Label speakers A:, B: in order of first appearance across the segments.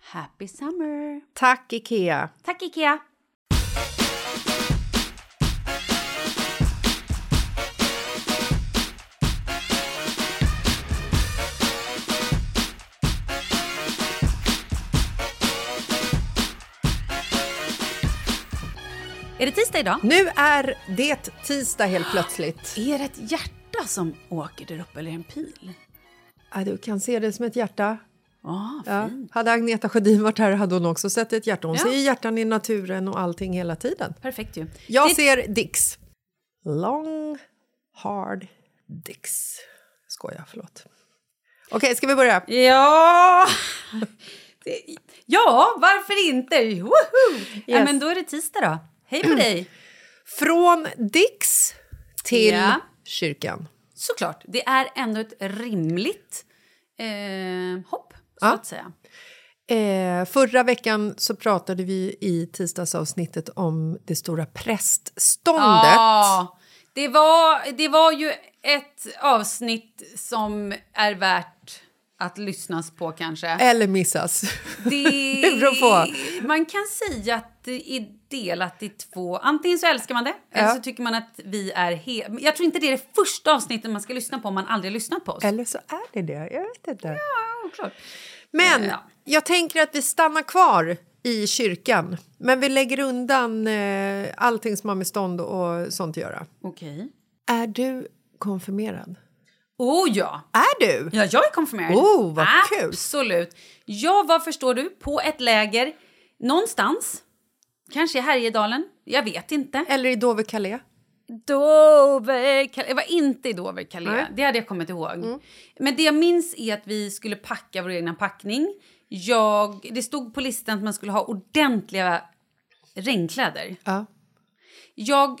A: Happy summer!
B: Tack, Ikea!
A: Tack Ikea! Är det tisdag idag?
B: Nu är det tisdag helt plötsligt.
A: Är det ett hjärta som åker där uppe eller en pil?
B: Ja, Ah, du kan se det som ett hjärta.
A: Ah,
B: Ja.
A: fint.
B: Hade Agneta Sjödin varit här hade hon också sett ett hjärta. Hon
A: Ja.
B: ser ju hjärtan i naturen och allting hela tiden.
A: Perfekt ju.
B: Jag
A: det,
B: ser Dix. Long, hard Dix. Skojar, förlåt. Okej, ska vi börja?
A: Ja! Det- ja, varför inte? Woho! Ja,
B: Yes.
A: men då är det tisdag då. Hej på dig!
B: Från Dix till
A: Ja.
B: kyrkan.
A: Såklart, det är ändå ett rimligt eh, hopp, så att säga.
B: Eh, förra veckan så pratade vi i tisdagsavsnittet om det stora prästståndet.
A: Ja, det var, det var ju ett avsnitt som är värt att lyssnas på kanske.
B: Eller missas.
A: Det,
B: det beror på.
A: Man kan säga att det är delat i två. Antingen så älskar man det, eller
B: Ja.
A: så tycker man att vi är he- Men Jag tror inte det är det första avsnittet man ska lyssna på om man aldrig har lyssnat på oss.
B: Eller så är det det. Jag vet inte.
A: Ja, klart.
B: Men
A: Ja.
B: jag tänker att vi stannar kvar i kyrkan. Men vi lägger undan eh, allting som har med stånd och sånt att göra.
A: Okej.
B: Är du konfirmerad?
A: Oh ja!
B: Är du?
A: Ja, jag är konfirmerad.
B: Oh, vad kul.
A: Absolut. Jag var, förstår du, på ett läger någonstans Kanske i Härjedalen. Jag vet inte.
B: Eller i Dover-Calais.
A: Dover, jag var inte i Dover
B: Nej. Mm.
A: Calais. Det hade jag kommit ihåg. Men det jag minns är att vi skulle packa vår egna packning. Jag, det stod på listan att man skulle ha ordentliga regnkläder.
B: Ja.
A: Jag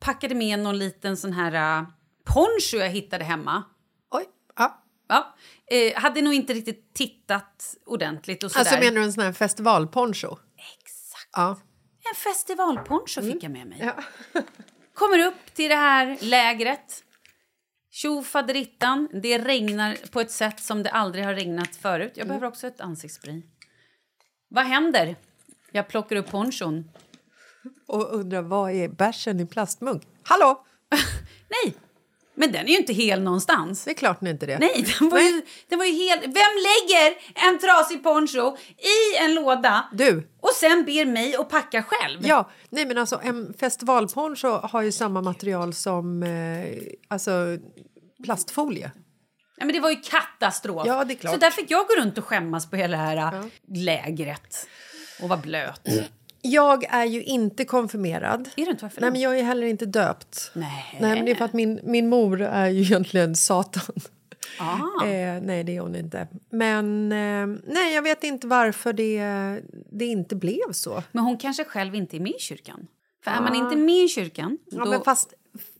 A: packade med någon liten sån här eh, poncho jag hittade hemma.
B: Oj. Ja.
A: Ja. Eh, hade nog inte riktigt tittat ordentligt och sådär.
B: Alltså menar du en sån här festivalponcho? Exakt. Ja.
A: En festivalponcho fick jag med mig. Kommer upp till det här lägret. Tjo faderittan. Det regnar på ett sätt som det aldrig har regnat förut. Jag behöver också ett ansiktsspray. Vad händer? Jag plockar upp ponchon.
B: Och undrar vad är bärsen i plastmugg? Hallå!
A: Nej, men den är ju inte hel någonstans.
B: Det är klart ni inte det.
A: Nej, den var ju, den var ju hel. Vem lägger en trasig poncho i en låda
B: Du.
A: och sen ber mig att packa själv?
B: Ja, nej men alltså en festivalponcho har ju samma material som eh, alltså plastfolie.
A: Nej, men det var ju katastrof.
B: Ja, det är klart.
A: Så där fick jag gå runt och skämmas på hela det här äh, lägret och vara blöt.
B: Mm. Jag är ju inte konfirmerad.
A: Är du inte? Varför
B: Nej,
A: då?
B: men jag är heller inte döpt.
A: Nej.
B: nej men det är för att min, min mor är ju egentligen Satan.
A: Ah.
B: Eh, nej, det är hon inte. Men eh, nej, jag vet inte varför det, det inte blev så.
A: Men hon kanske själv inte är med i kyrkan. För är man inte med i kyrkan,
B: Ah. Ja,
A: då...
B: men fast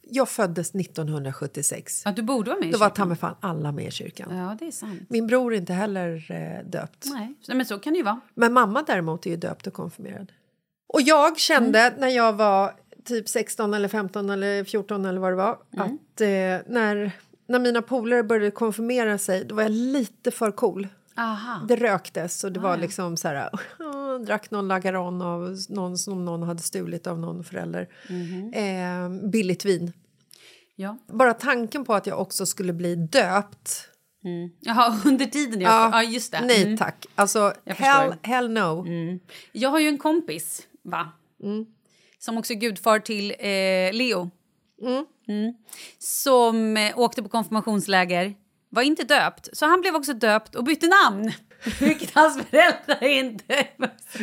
B: jag föddes 1976.
A: ja, du borde vara med i
B: Då var
A: kyrkan.
B: ta mig fan alla med i kyrkan.
A: Ja, det är sant.
B: Min bror är inte heller eh, döpt.
A: Nej, så- men så kan det ju vara.
B: Men mamma däremot är ju döpt och konfirmerad. Och jag kände
A: Mm.
B: när jag var typ 16 eller 15 eller 14 eller vad det var
A: Mm.
B: att eh, när, när mina polare började konfirmera sig då var jag lite för cool.
A: Aha. Ah,
B: Det röktes och det var liksom så här... drack någon Lagaron av någon som någon hade stulit av någon förälder.
A: Mhm.
B: Eh, billigt vin.
A: Ja.
B: Bara tanken på att jag också skulle bli döpt
A: Jaha, under tiden jag... Ja, just det.
B: Nej
A: Mm.
B: tack. Alltså,
A: Jag
B: hell,
A: förstår.
B: hell no.
A: Jag har ju en kompis, va?
B: Mm.
A: Som också är gudfar till eh, Leo. Mm. Som eh, åkte på konfirmationsläger. Var inte döpt, så han blev också döpt och bytte namn. Vilket hans föräldrar inte...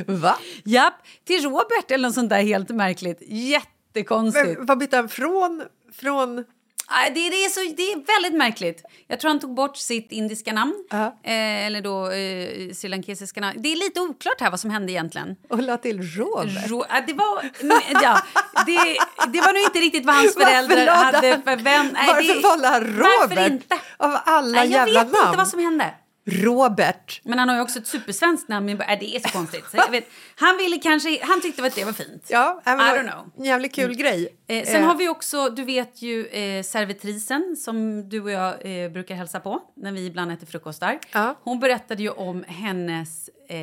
B: Va?
A: Japp, till Robert eller något sånt där helt märkligt. Jättekonstigt.
B: Men, vad bytte han från? från
A: Nej, Det, det, är så, det är väldigt märkligt. Jag tror han tog bort sitt indiska namn.
B: Ja.
A: Eh, eller då eh, srilankesiska namn. Det är lite oklart här vad som hände egentligen.
B: och la till Robert?
A: Rå- ja, det, var, mm, ja, det, det var nog inte riktigt vad hans
B: Varför
A: föräldrar
B: la han-
A: hade förväntat
B: varför valde han
A: Varför
B: Robert?
A: inte?
B: Av alla
A: Nej, jag
B: jävla
A: vet
B: namn.
A: inte vad som hände.
B: Robert!
A: Men han har ju också ett supersvenskt namn. Men bara, äh, det är så konstigt. Så jag vet, han, ville kanske, han tyckte att det var fint.
B: Ja,
A: I
B: även
A: don't know.
B: En jävligt kul grej.
A: Eh, sen har vi också, du vet ju eh, servitrisen som du och jag eh, brukar hälsa på när vi ibland äter frukostar.
B: Ja.
A: Hon berättade ju om hennes eh,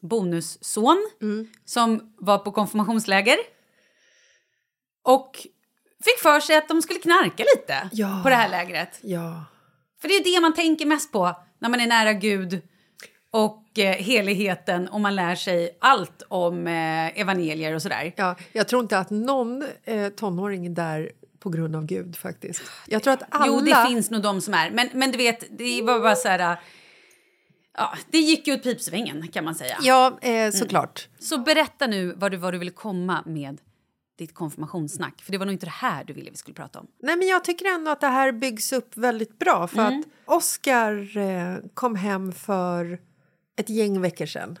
A: bonusson
B: Mm.
A: som var på konfirmationsläger och fick för sig att de skulle knarka lite
B: Ja.
A: på det här lägret.
B: Ja.
A: För det är det man tänker mest på när man är nära Gud och eh, heligheten och man lär sig allt om eh, evangelier och sådär.
B: ja. Jag tror inte att någon eh, tonåring är där på grund av Gud faktiskt. Jag tror att alla...
A: Jo, det finns nog de som är. Men, men du vet, det var bara så här... äh, Ja, det gick ju åt pipsvängen, kan man säga.
B: Ja,
A: Mm.
B: eh, såklart.
A: Så berätta nu vad du, vad du ville komma med ditt konfirmationssnack. För det var nog inte det här du ville vi skulle prata om.
B: Nej, men jag tycker ändå att det här byggs upp väldigt bra. För
A: Mm.
B: att Oscar eh, kom hem för ett gäng veckor sedan.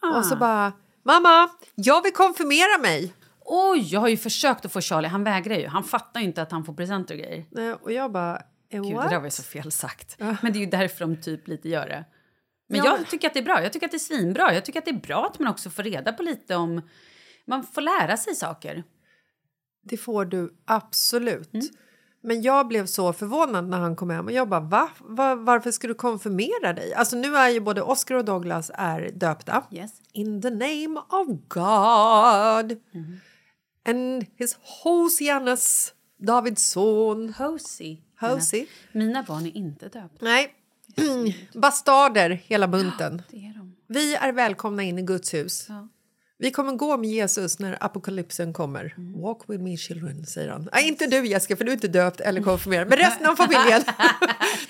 A: Ah.
B: Och så bara... Mamma, jag vill konfirmera mig!
A: Oj, jag har ju försökt att få Charlie. Han vägrar ju. Han fattar ju inte att han får presenter och grejer.
B: Nej, Och jag bara... eh,
A: Gud,
B: What?
A: det där var ju så fel sagt. Men det är ju därför de typ lite gör det. Men
B: Ja, men-
A: jag tycker att det är bra. Jag tycker att det är svinbra. Jag tycker att det är bra att man också får reda på lite om... Man får lära sig saker.
B: Det får du absolut. Men jag blev så förvånad när han kom hem. Och jag bara, va? va? Varför ska du konfirmera dig? Alltså nu är ju både Oscar och Douglas är döpta.
A: Yes.
B: In the name of God. And his Hosiannes, Davids son.
A: Hosey.
B: Hosey.
A: Mina, mina barn är inte döpta.
B: Nej, bastarder hela bunten.
A: Det är de.
B: Vi är välkomna in i Guds hus.
A: Ja.
B: Vi kommer gå med Jesus när apokalypsen kommer. Walk with me children, säger han. Nej, inte du Jessica, för du är inte döpt eller konfirmerad. Men resten av familjen,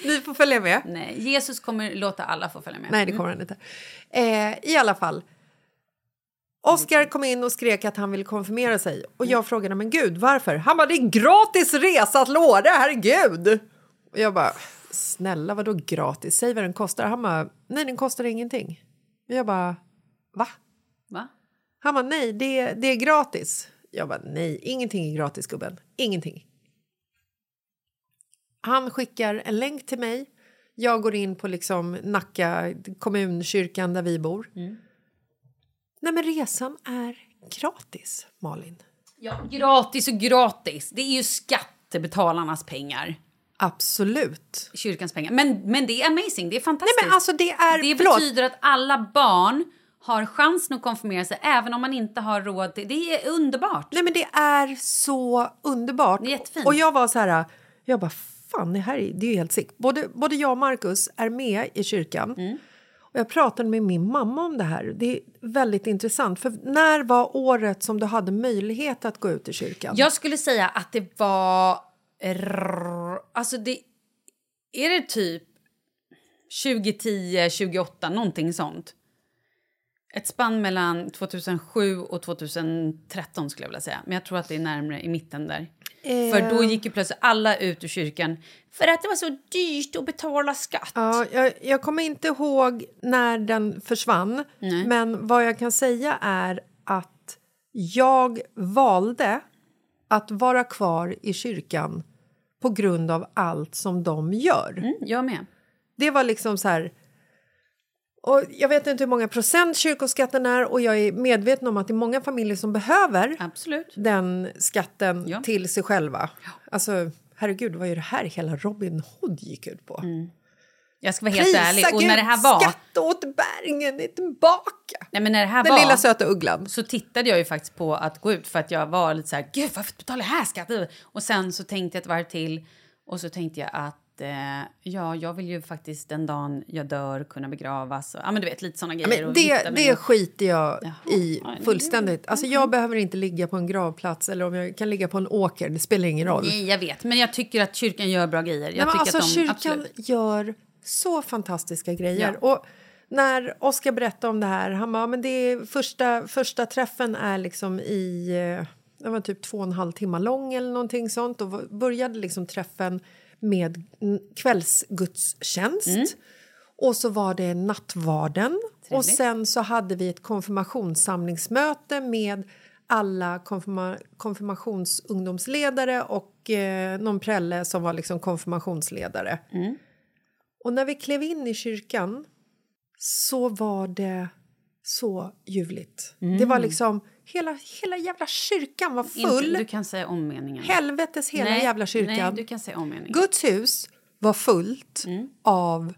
B: ni får följa med.
A: Nej, Jesus kommer låta alla få följa med.
B: Nej, det kommer han inte. Eh, I alla fall. Oscar kom in och skrek att han ville konfirmera sig. Och jag frågade, men gud, varför? Han bara, det är gratis resa att Låre, herregud! Och jag bara, snälla vadå gratis? Säg vad den kostar. Han bara, nej den kostar ingenting. Och jag bara, va?
A: Va?
B: Han bara, nej det, det är gratis. Jag bara, nej ingenting är gratis gubben, ingenting. Han skickar en länk till mig. Jag går in på liksom Nacka kommunkyrkan där vi bor.
A: Mm.
B: Nej men resan är gratis, Malin.
A: Ja, gratis och gratis. Det är ju skattebetalarnas pengar.
B: Absolut.
A: Kyrkans pengar. Men, men det är amazing, det är fantastiskt.
B: Nej men alltså det är,
A: det
B: förlåt.
A: betyder att alla barn har chansen att konfirmera sig även om man inte har råd till det. är underbart.
B: Nej men det är så underbart.
A: Det är jättefint.
B: Och jag var så här, jag bara fan det här är, det är ju helt sick. Både, både jag och Markus är med i kyrkan.
A: Mm.
B: Och jag pratade med min mamma om det här. Det är väldigt intressant. För när var året som du hade möjlighet att gå ut i kyrkan?
A: Jag skulle säga att det var... rrr, Alltså det... Är det typ 2010, 2008, någonting sånt? Ett spann mellan 2007 och 2013 skulle jag vilja säga. Men jag tror att det är närmare i mitten där. För då gick ju plötsligt alla ut ur kyrkan för att det var så dyrt att betala skatt.
B: Ja, jag, jag kommer inte ihåg när den försvann, men vad jag kan säga är att jag valde att vara kvar i kyrkan på grund av allt som de gör.
A: Mm, jag med.
B: Det var liksom så här... Och jag vet inte hur många procent kyrkoskatten är och jag är medveten om att det är många familjer som behöver
A: Absolut.
B: den skatten
A: Ja.
B: till sig själva. Alltså, herregud, vad är det här hela Robin Hood gick ut
A: Mm.
B: på?
A: Jag ska vara helt ärlig. Och när det här var...
B: skatteåterbäringen är tillbaka!
A: Nej, men när det här
B: Den
A: var...
B: lilla söta ugglan.
A: så tittade jag ju faktiskt på att gå ut för att jag var lite så här, gud varför betalar jag här skatt? Och sen så tänkte jag ett varv till och så tänkte jag att eh, ja, jag vill ju faktiskt den dagen jag dör kunna begravas. Och, ja, men du vet lite såna grejer.
B: Men
A: och
B: det,
A: gifta mig.
B: det skiter jag i
A: Ja, det- Mhm.
B: fullständigt. Alltså, jag behöver inte ligga på en gravplats eller om jag kan ligga på en åker, det spelar ingen roll.
A: Nej, jag vet. Men jag tycker att kyrkan gör bra grejer. Mm. Jag
B: Nej, men
A: tycker
B: alltså,
A: att de,
B: kyrkan
A: absolut.
B: gör så fantastiska grejer. Och när Oskar berättade om det här, han bara, men det är första, första träffen är liksom i, eh, den var typ två och en halv timme lång eller någonting sånt. Och v- började liksom träffen med mm, kvällsgudstjänst. Och så var det nattvarden. Och sen så hade vi ett konfirmationssamlingsmöte med alla konfirma- konfirmationsungdomsledare och eh, någon prälle som var liksom konfirmationsledare. Och när vi klev in i kyrkan så var det så ljuvligt. Det var liksom hela, hela jävla kyrkan var full.
A: Mm. Inte, du kan säga om meningen.
B: Helvetes hela
A: nej,
B: jävla
A: Nej,
B: kyrkan.
A: du kan säga om Mm. meningen.
B: Guds hus var fullt av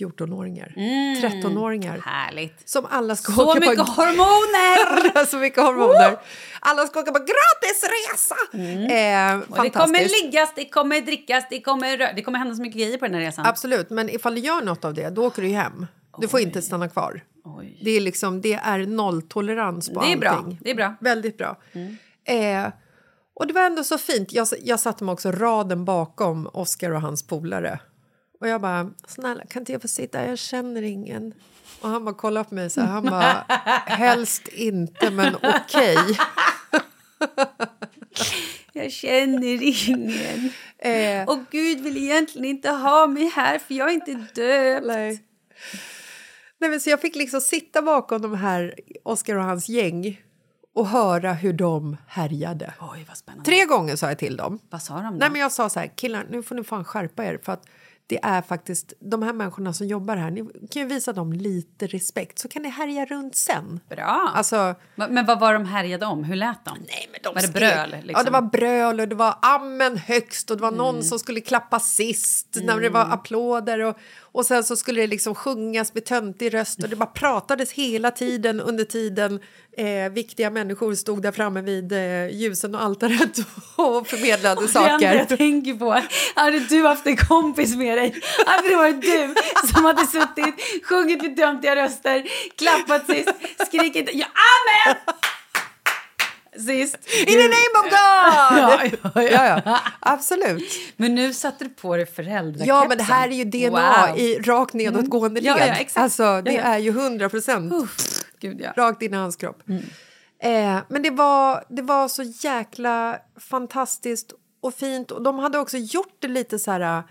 B: 14-åringar, 13-åringar
A: Mm. Härligt.
B: som alla ska
A: Så
B: åka på...
A: mycket hormoner!
B: så mycket hormoner! Alla ska åka på gratisresa! Eh,
A: Mm. Och det kommer
B: fantastiskt.
A: liggas, det kommer drickas, det kommer rö- Det kommer hända så mycket grejer på den här resan.
B: Absolut, men ifall du gör något av det, då åker du ju hem. Du får inte stanna kvar.
A: Oj.
B: Det är, liksom, det är nolltolerans på
A: Det är
B: allting.
A: bra, det är bra. Mm.
B: Väldigt bra. Eh, och det var ändå så fint. Jag, s- jag satte mig också raden bakom Oscar och hans polare. Och jag bara, snälla kan inte jag få sitta här? Jag känner ingen. Och han bara kollade på mig så här, han bara, helst inte men okej.
A: Jag känner ingen.
B: Eh,
A: Och Gud vill egentligen inte ha mig här för jag är inte döpt.
B: Nej. Nej, men så jag fick liksom sitta bakom de här Oscar och hans gäng och höra hur de härjade.
A: Oj, vad spännande.
B: Tre gånger sa jag till dem.
A: Vad sa de då?
B: Nej, men jag sa så här, killar, nu får ni fan skärpa er för att det är faktiskt de här människorna som jobbar här. Ni kan ju visa dem lite respekt så kan ni härja runt sen.
A: Bra.
B: Alltså,
A: Va- men vad var de härjade om? Hur lät de? Nej, men de var det
B: skrek.
A: bröl? Liksom? Mm.
B: Ja, det var bröl och det var amen högst och det var någon som skulle klappa sist när det var applåder och, och sen så skulle det liksom sjungas med töntig röst och det bara pratades hela tiden under tiden eh, viktiga människor stod där framme vid eh, ljusen och altaret och förmedlade
A: Det andra
B: saker.
A: jag tänker på, hade du haft en kompis med dig, hade det varit du som hade suttit, sjungit med dömtiga röster, klappat sist, skrikit ja, amen! Sist.
B: In the name of God!
A: Ja, ja, ja.
B: ja, ja, absolut.
A: Men nu satte du på dig föräldrakepsen.
B: Ja, men det här är ju DNA
A: Wow. Mm.
B: i rakt nedåtgående led.
A: Ja, ja, exakt.
B: Alltså, det
A: Ja, ja.
B: är ju 100 procent
A: Uff, Gud, ja. Mm.
B: rakt in i hans kropp. Eh, men det var, det var så jäkla fantastiskt och fint. Och de hade också gjort det lite så här...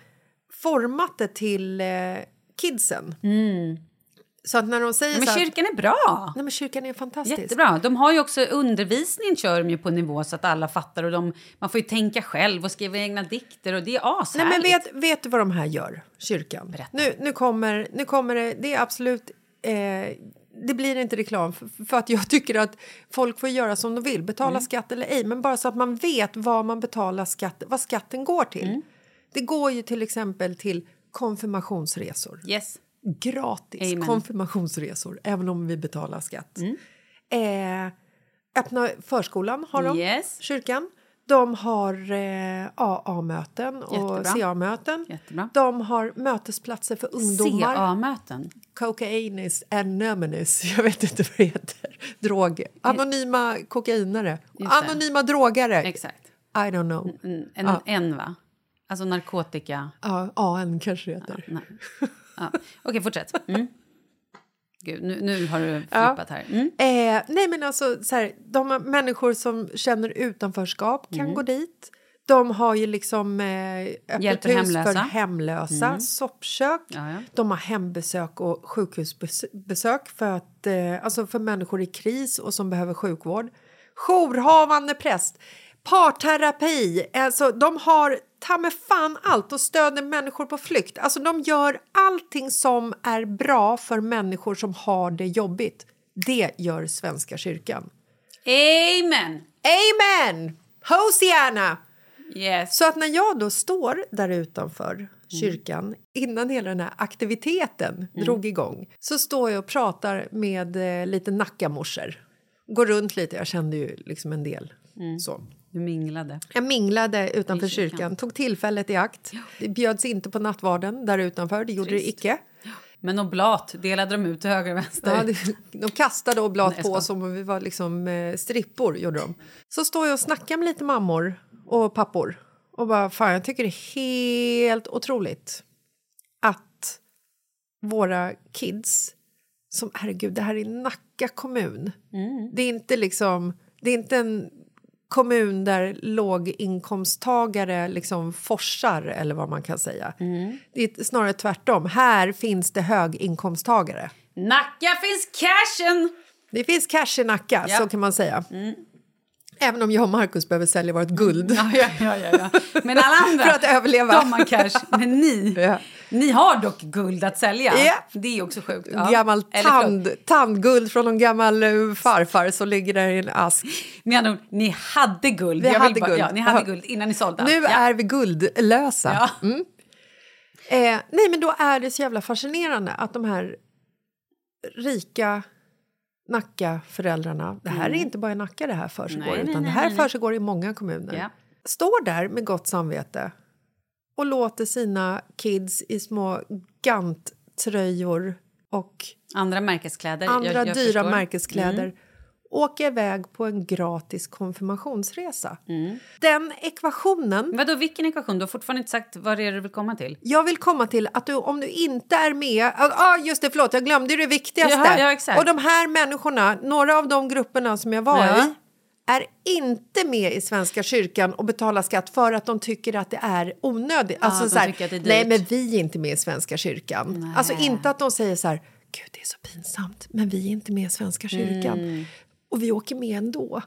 B: Format det till eh, kidsen. Så att när de säger
A: Mm. Men
B: så här...
A: kyrkan är bra!
B: Nej, men kyrkan är fantastisk.
A: Jättebra. De har ju också undervisning kör de ju på nivå så att alla fattar och de, man får ju tänka själv och skriva egna dikter och det är
B: Nej,
A: ashärligt.
B: men vet, vet du vad de här gör, kyrkan? Nu, nu, kommer, nu kommer det... Det är absolut... Eh, det blir inte reklam, för, för att jag tycker att folk får göra som de vill, betala skatt eller ej. Men bara så att man vet vad man betalar skatt, vad skatten går till. Det går ju till exempel till konfirmationsresor.
A: Yes.
B: Gratis
A: Amen. Mm.
B: konfirmationsresor, även om vi betalar skatt. Eh, öppna förskolan har de,
A: Yes.
B: kyrkan. De har eh, AA-möten och
A: Jättebra.
B: CA-möten.
A: Jättebra.
B: De har mötesplatser för ungdomar.
A: CA-möten.
B: Cocainis Anonymous, jag vet inte vad det heter. Drog. Anonyma kokainare.
A: Eh. Just det.
B: Anonyma drogare.
A: Exakt.
B: I don't know.
A: Mm, En, en va? Alltså narkotika...
B: Ja, AN kanske det heter.
A: Nej. Ja. Okej, fortsätt. Mm. Gud, nu, nu har du flippat här. Mm.
B: Eh, nej men alltså, så här, de har människor som känner utanförskap kan gå dit. De har ju liksom eh, öppet
A: Hjälper
B: hus
A: hemlösa. Mm.
B: för hemlösa, soppkök.
A: Ja, ja.
B: De har hembesök och sjukhusbesök för, att, eh, alltså för människor i kris och som behöver sjukvård. Jourhavande präst, parterapi. Alltså, de har ta med fan allt och stöder människor på flykt. Alltså, de gör allting som är bra för människor som har det jobbigt. Det gör Svenska kyrkan.
A: Amen!
B: Amen! Hosiana!
A: Yes.
B: Så att när jag då står där
A: Mm.
B: utanför kyrkan innan hela den här aktiviteten
A: Mm.
B: drog igång så står jag och pratar med eh, lite nackamorsor. Går runt lite, jag kände ju liksom en del. Så.
A: Du minglade.
B: Jag minglade utanför
A: Mm. I
B: kyrkan.
A: kyrkan.
B: tog tillfället i akt. Det bjöds inte på nattvarden där utanför, det gjorde det
A: Trist.
B: icke.
A: Men oblat delade de ut till höger och vänster.
B: Ja, det, de kastade oblat
A: Nej,
B: på
A: jag
B: oss som om vi var liksom eh, strippor. Gjorde de. Så står jag och snackar med lite mammor och pappor och bara fan jag tycker det är helt otroligt att våra kids som herregud det här är Nacka kommun.
A: Mm.
B: Det är inte liksom det är inte en kommun där låginkomsttagare liksom forsar eller vad man kan säga.
A: Mm.
B: Det är snarare tvärtom. Här finns det höginkomsttagare.
A: Nacka finns cashen!
B: Det finns cash i Nacka,
A: Ja. Mm.
B: så kan man säga. Även om jag och Markus behöver sälja vårt guld.
A: Ja, ja, ja, ja, ja. Men alla andra,
B: För att överleva.
A: de har cash. Men ni,
B: Ja.
A: ni har dock guld att sälja.
B: Ja.
A: Det är också sjukt. Ja.
B: Gammal
A: Eller förlåt,
B: tand, tandguld från någon gammal eh, farfar som ligger där i en ask.
A: Med andra ord, ni hade guld.
B: Vi
A: vill
B: hade guld.
A: Ja, ni hade
B: Ja.
A: guld innan ni sålde.
B: Nu
A: ja.
B: är vi guldlösa. Mm.
A: Ja.
B: Eh, nej, men då är det så jävla fascinerande att de här rika Nacka-föräldrarna... Det här är inte bara i Nacka det här försiggår,
A: Mm. Nej, nej,
B: utan
A: nej,
B: det här
A: nej, nej.
B: försiggår i många kommuner.
A: Ja.
B: Står där med gott samvete och låter sina kids i små Gant-tröjor och
A: Andra märkeskläder. jag-
B: andra
A: jag
B: dyra
A: förstår. Mm.
B: märkeskläder åka iväg på en gratis konfirmationsresa.
A: Mm.
B: Den ekvationen
A: Vadå, vilken ekvation? Du har fortfarande inte sagt vad det är du vill komma till.
B: Jag vill komma till att du, om du inte är med... Ja, ah, just det, förlåt, jag glömde ju det viktigaste.
A: Jaha, ja, exakt.
B: Och de här människorna, några av de grupperna som jag var
A: Ja.
B: i är inte med i Svenska kyrkan och betalar skatt för att de tycker att det är onödigt. alltså,
A: de
B: så här,
A: tycker att det är dyrt.
B: nej, men vi är inte med i Svenska kyrkan. Alltså inte att de säger så här, gud det är så pinsamt, men vi är inte med i Svenska kyrkan.
A: Mm.
B: Och vi åker med ändå.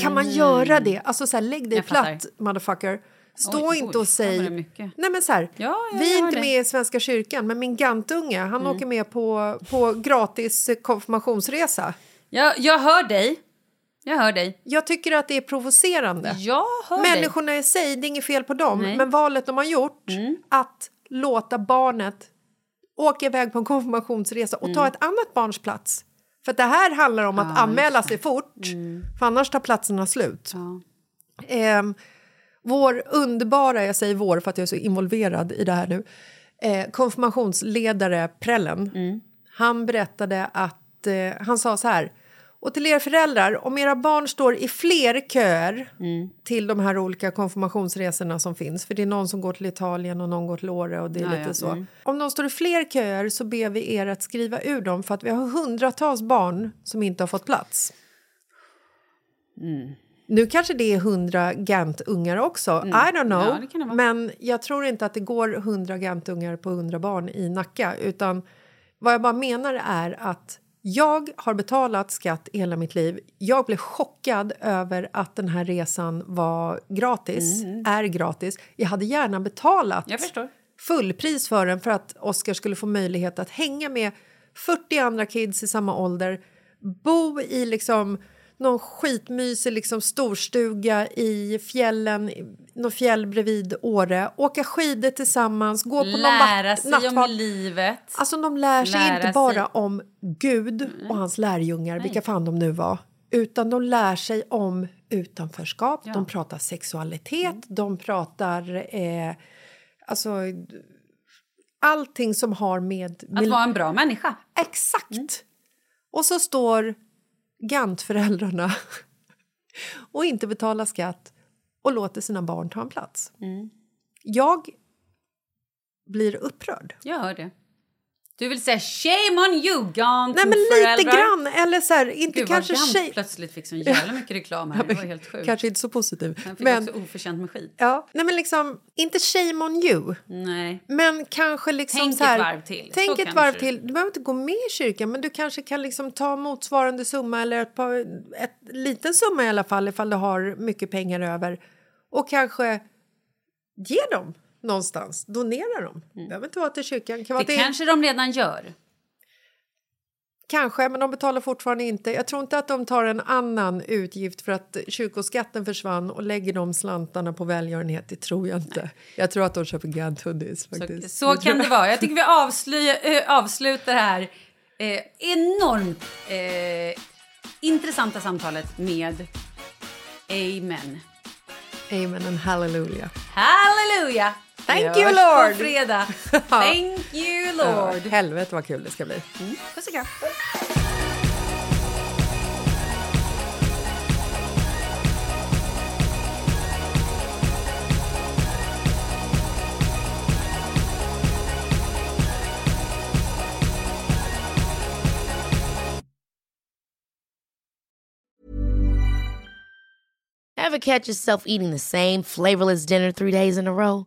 B: Kan man göra det? Alltså så här, lägg dig
A: Jag fattar.
B: platt, motherfucker. Stå
A: Oj,
B: inte
A: oj,
B: och säg...
A: fan vad det är mycket.
B: Nej, men så här,
A: Ja, ja, Mm.
B: vi är
A: jag hör
B: inte
A: dig.
B: med i Svenska kyrkan, men min gantunge han åker med på, på gratis konfirmationsresa.
A: Jag, jag hör dig. Jag hör dig.
B: Jag tycker att det är provocerande.
A: Jag hör dig.
B: Människorna i sig, det är inget fel på dem,
A: Nej. Mm.
B: men valet de har gjort att låta barnet åka iväg på en konfirmationsresa och
A: Mm.
B: ta ett annat barns plats. För att det här handlar om att anmäla sig fort, för annars tar platserna slut.
A: Mm. Ja.
B: Ehm, vår underbara, jag säger vår för att jag är så involverad i det här nu, eh, konfirmationsledare Prellen,
A: Mm.
B: han berättade att, eh, han sa så här, och till er föräldrar, om era barn står i fler köer
A: Mm.
B: till de här olika konfirmationsresorna som finns, för det är någon som går till Italien och någon går till Åre och det är
A: Ja, Mm.
B: lite
A: ja,
B: så. Om de står i fler köer så ber vi er att skriva ur dem för att vi har hundratals barn som inte har fått plats. Nu kanske det är 100 Gant-ungar också, I don't know.
A: Mm. Ja, det kan det vara.
B: men jag tror inte att det går 100 Gant-ungar på 100 barn i Nacka. Utan vad jag bara menar är att jag har betalat skatt i hela mitt liv. Jag blev chockad över att den här resan var gratis, är gratis. Jag hade gärna betalat
A: Mm. Jag förstår.
B: fullpris för den för att Oscar skulle få möjlighet att hänga med 40 andra kids i samma ålder, bo i liksom någon skitmysig liksom storstuga i fjällen, i någon fjäll bredvid Åre, åka skidor tillsammans, gå på någon
A: Lära
B: vatt-
A: sig om
B: nattvad-
A: livet.
B: Alltså de lär sig
A: Lära
B: inte
A: sig.
B: bara om Gud och hans lärjungar, vilka fan de nu var, utan de lär sig om utanförskap, de pratar sexualitet,
A: Mm.
B: de pratar eh, alltså allting som har med...
A: Att
B: mil-
A: vara Mm. en bra människa.
B: Exakt! Och så står Gant-föräldrarna och inte betalar skatt och låter sina barn ta en plats.
A: Mm.
B: Jag blir upprörd.
A: Jag hör det. Du vill säga shame on you, Gant
B: Nej, men
A: föräldrar.
B: lite grann. Eller så här, inte
A: Gud,
B: kanske
A: vad Gant
B: tjej...
A: plötsligt fick så jävla mycket reklam här. Det var helt sjukt.
B: Kanske inte så positiv.
A: Han fick
B: Men,
A: också oförtjänt med skit.
B: ja, nej, men liksom, inte shame on you,
A: Nej.
B: men kanske liksom
A: Tänk
B: så här,
A: ett varv till. Så
B: Tänk ett
A: kanske
B: varv
A: det-
B: till. Du behöver inte gå med i kyrkan, men du kanske kan liksom ta motsvarande summa eller ett par, ett liten summa i alla fall ifall du har mycket pengar över och kanske ge dem någonstans, donera dem. Det behöver inte vara till kyrkan. Kan vara
A: Mm. Det
B: till,
A: kanske de redan gör.
B: Kanske, men de betalar fortfarande inte. Jag tror inte att de tar en annan utgift för att kyrkoskatten försvann och lägger de slantarna på välgörenhet. Det tror jag inte. Jag tror att de köper Grand Hoodies
A: Så,
B: faktiskt.
A: så kan det vara. Jag tycker vi avslöja, eh, avslutar det här eh, enormt eh, intressanta samtalet med Amen.
B: Amen and hallelujah.
A: Halleluja!
B: Thank
A: Vi
B: you,
A: hörs
B: Lord.
A: på fredag. Thank you, Lord.
B: Ja, helvete vad kul det ska bli.
A: Puss och kram.
C: Ever catch yourself eating the same flavorless dinner three days in a row?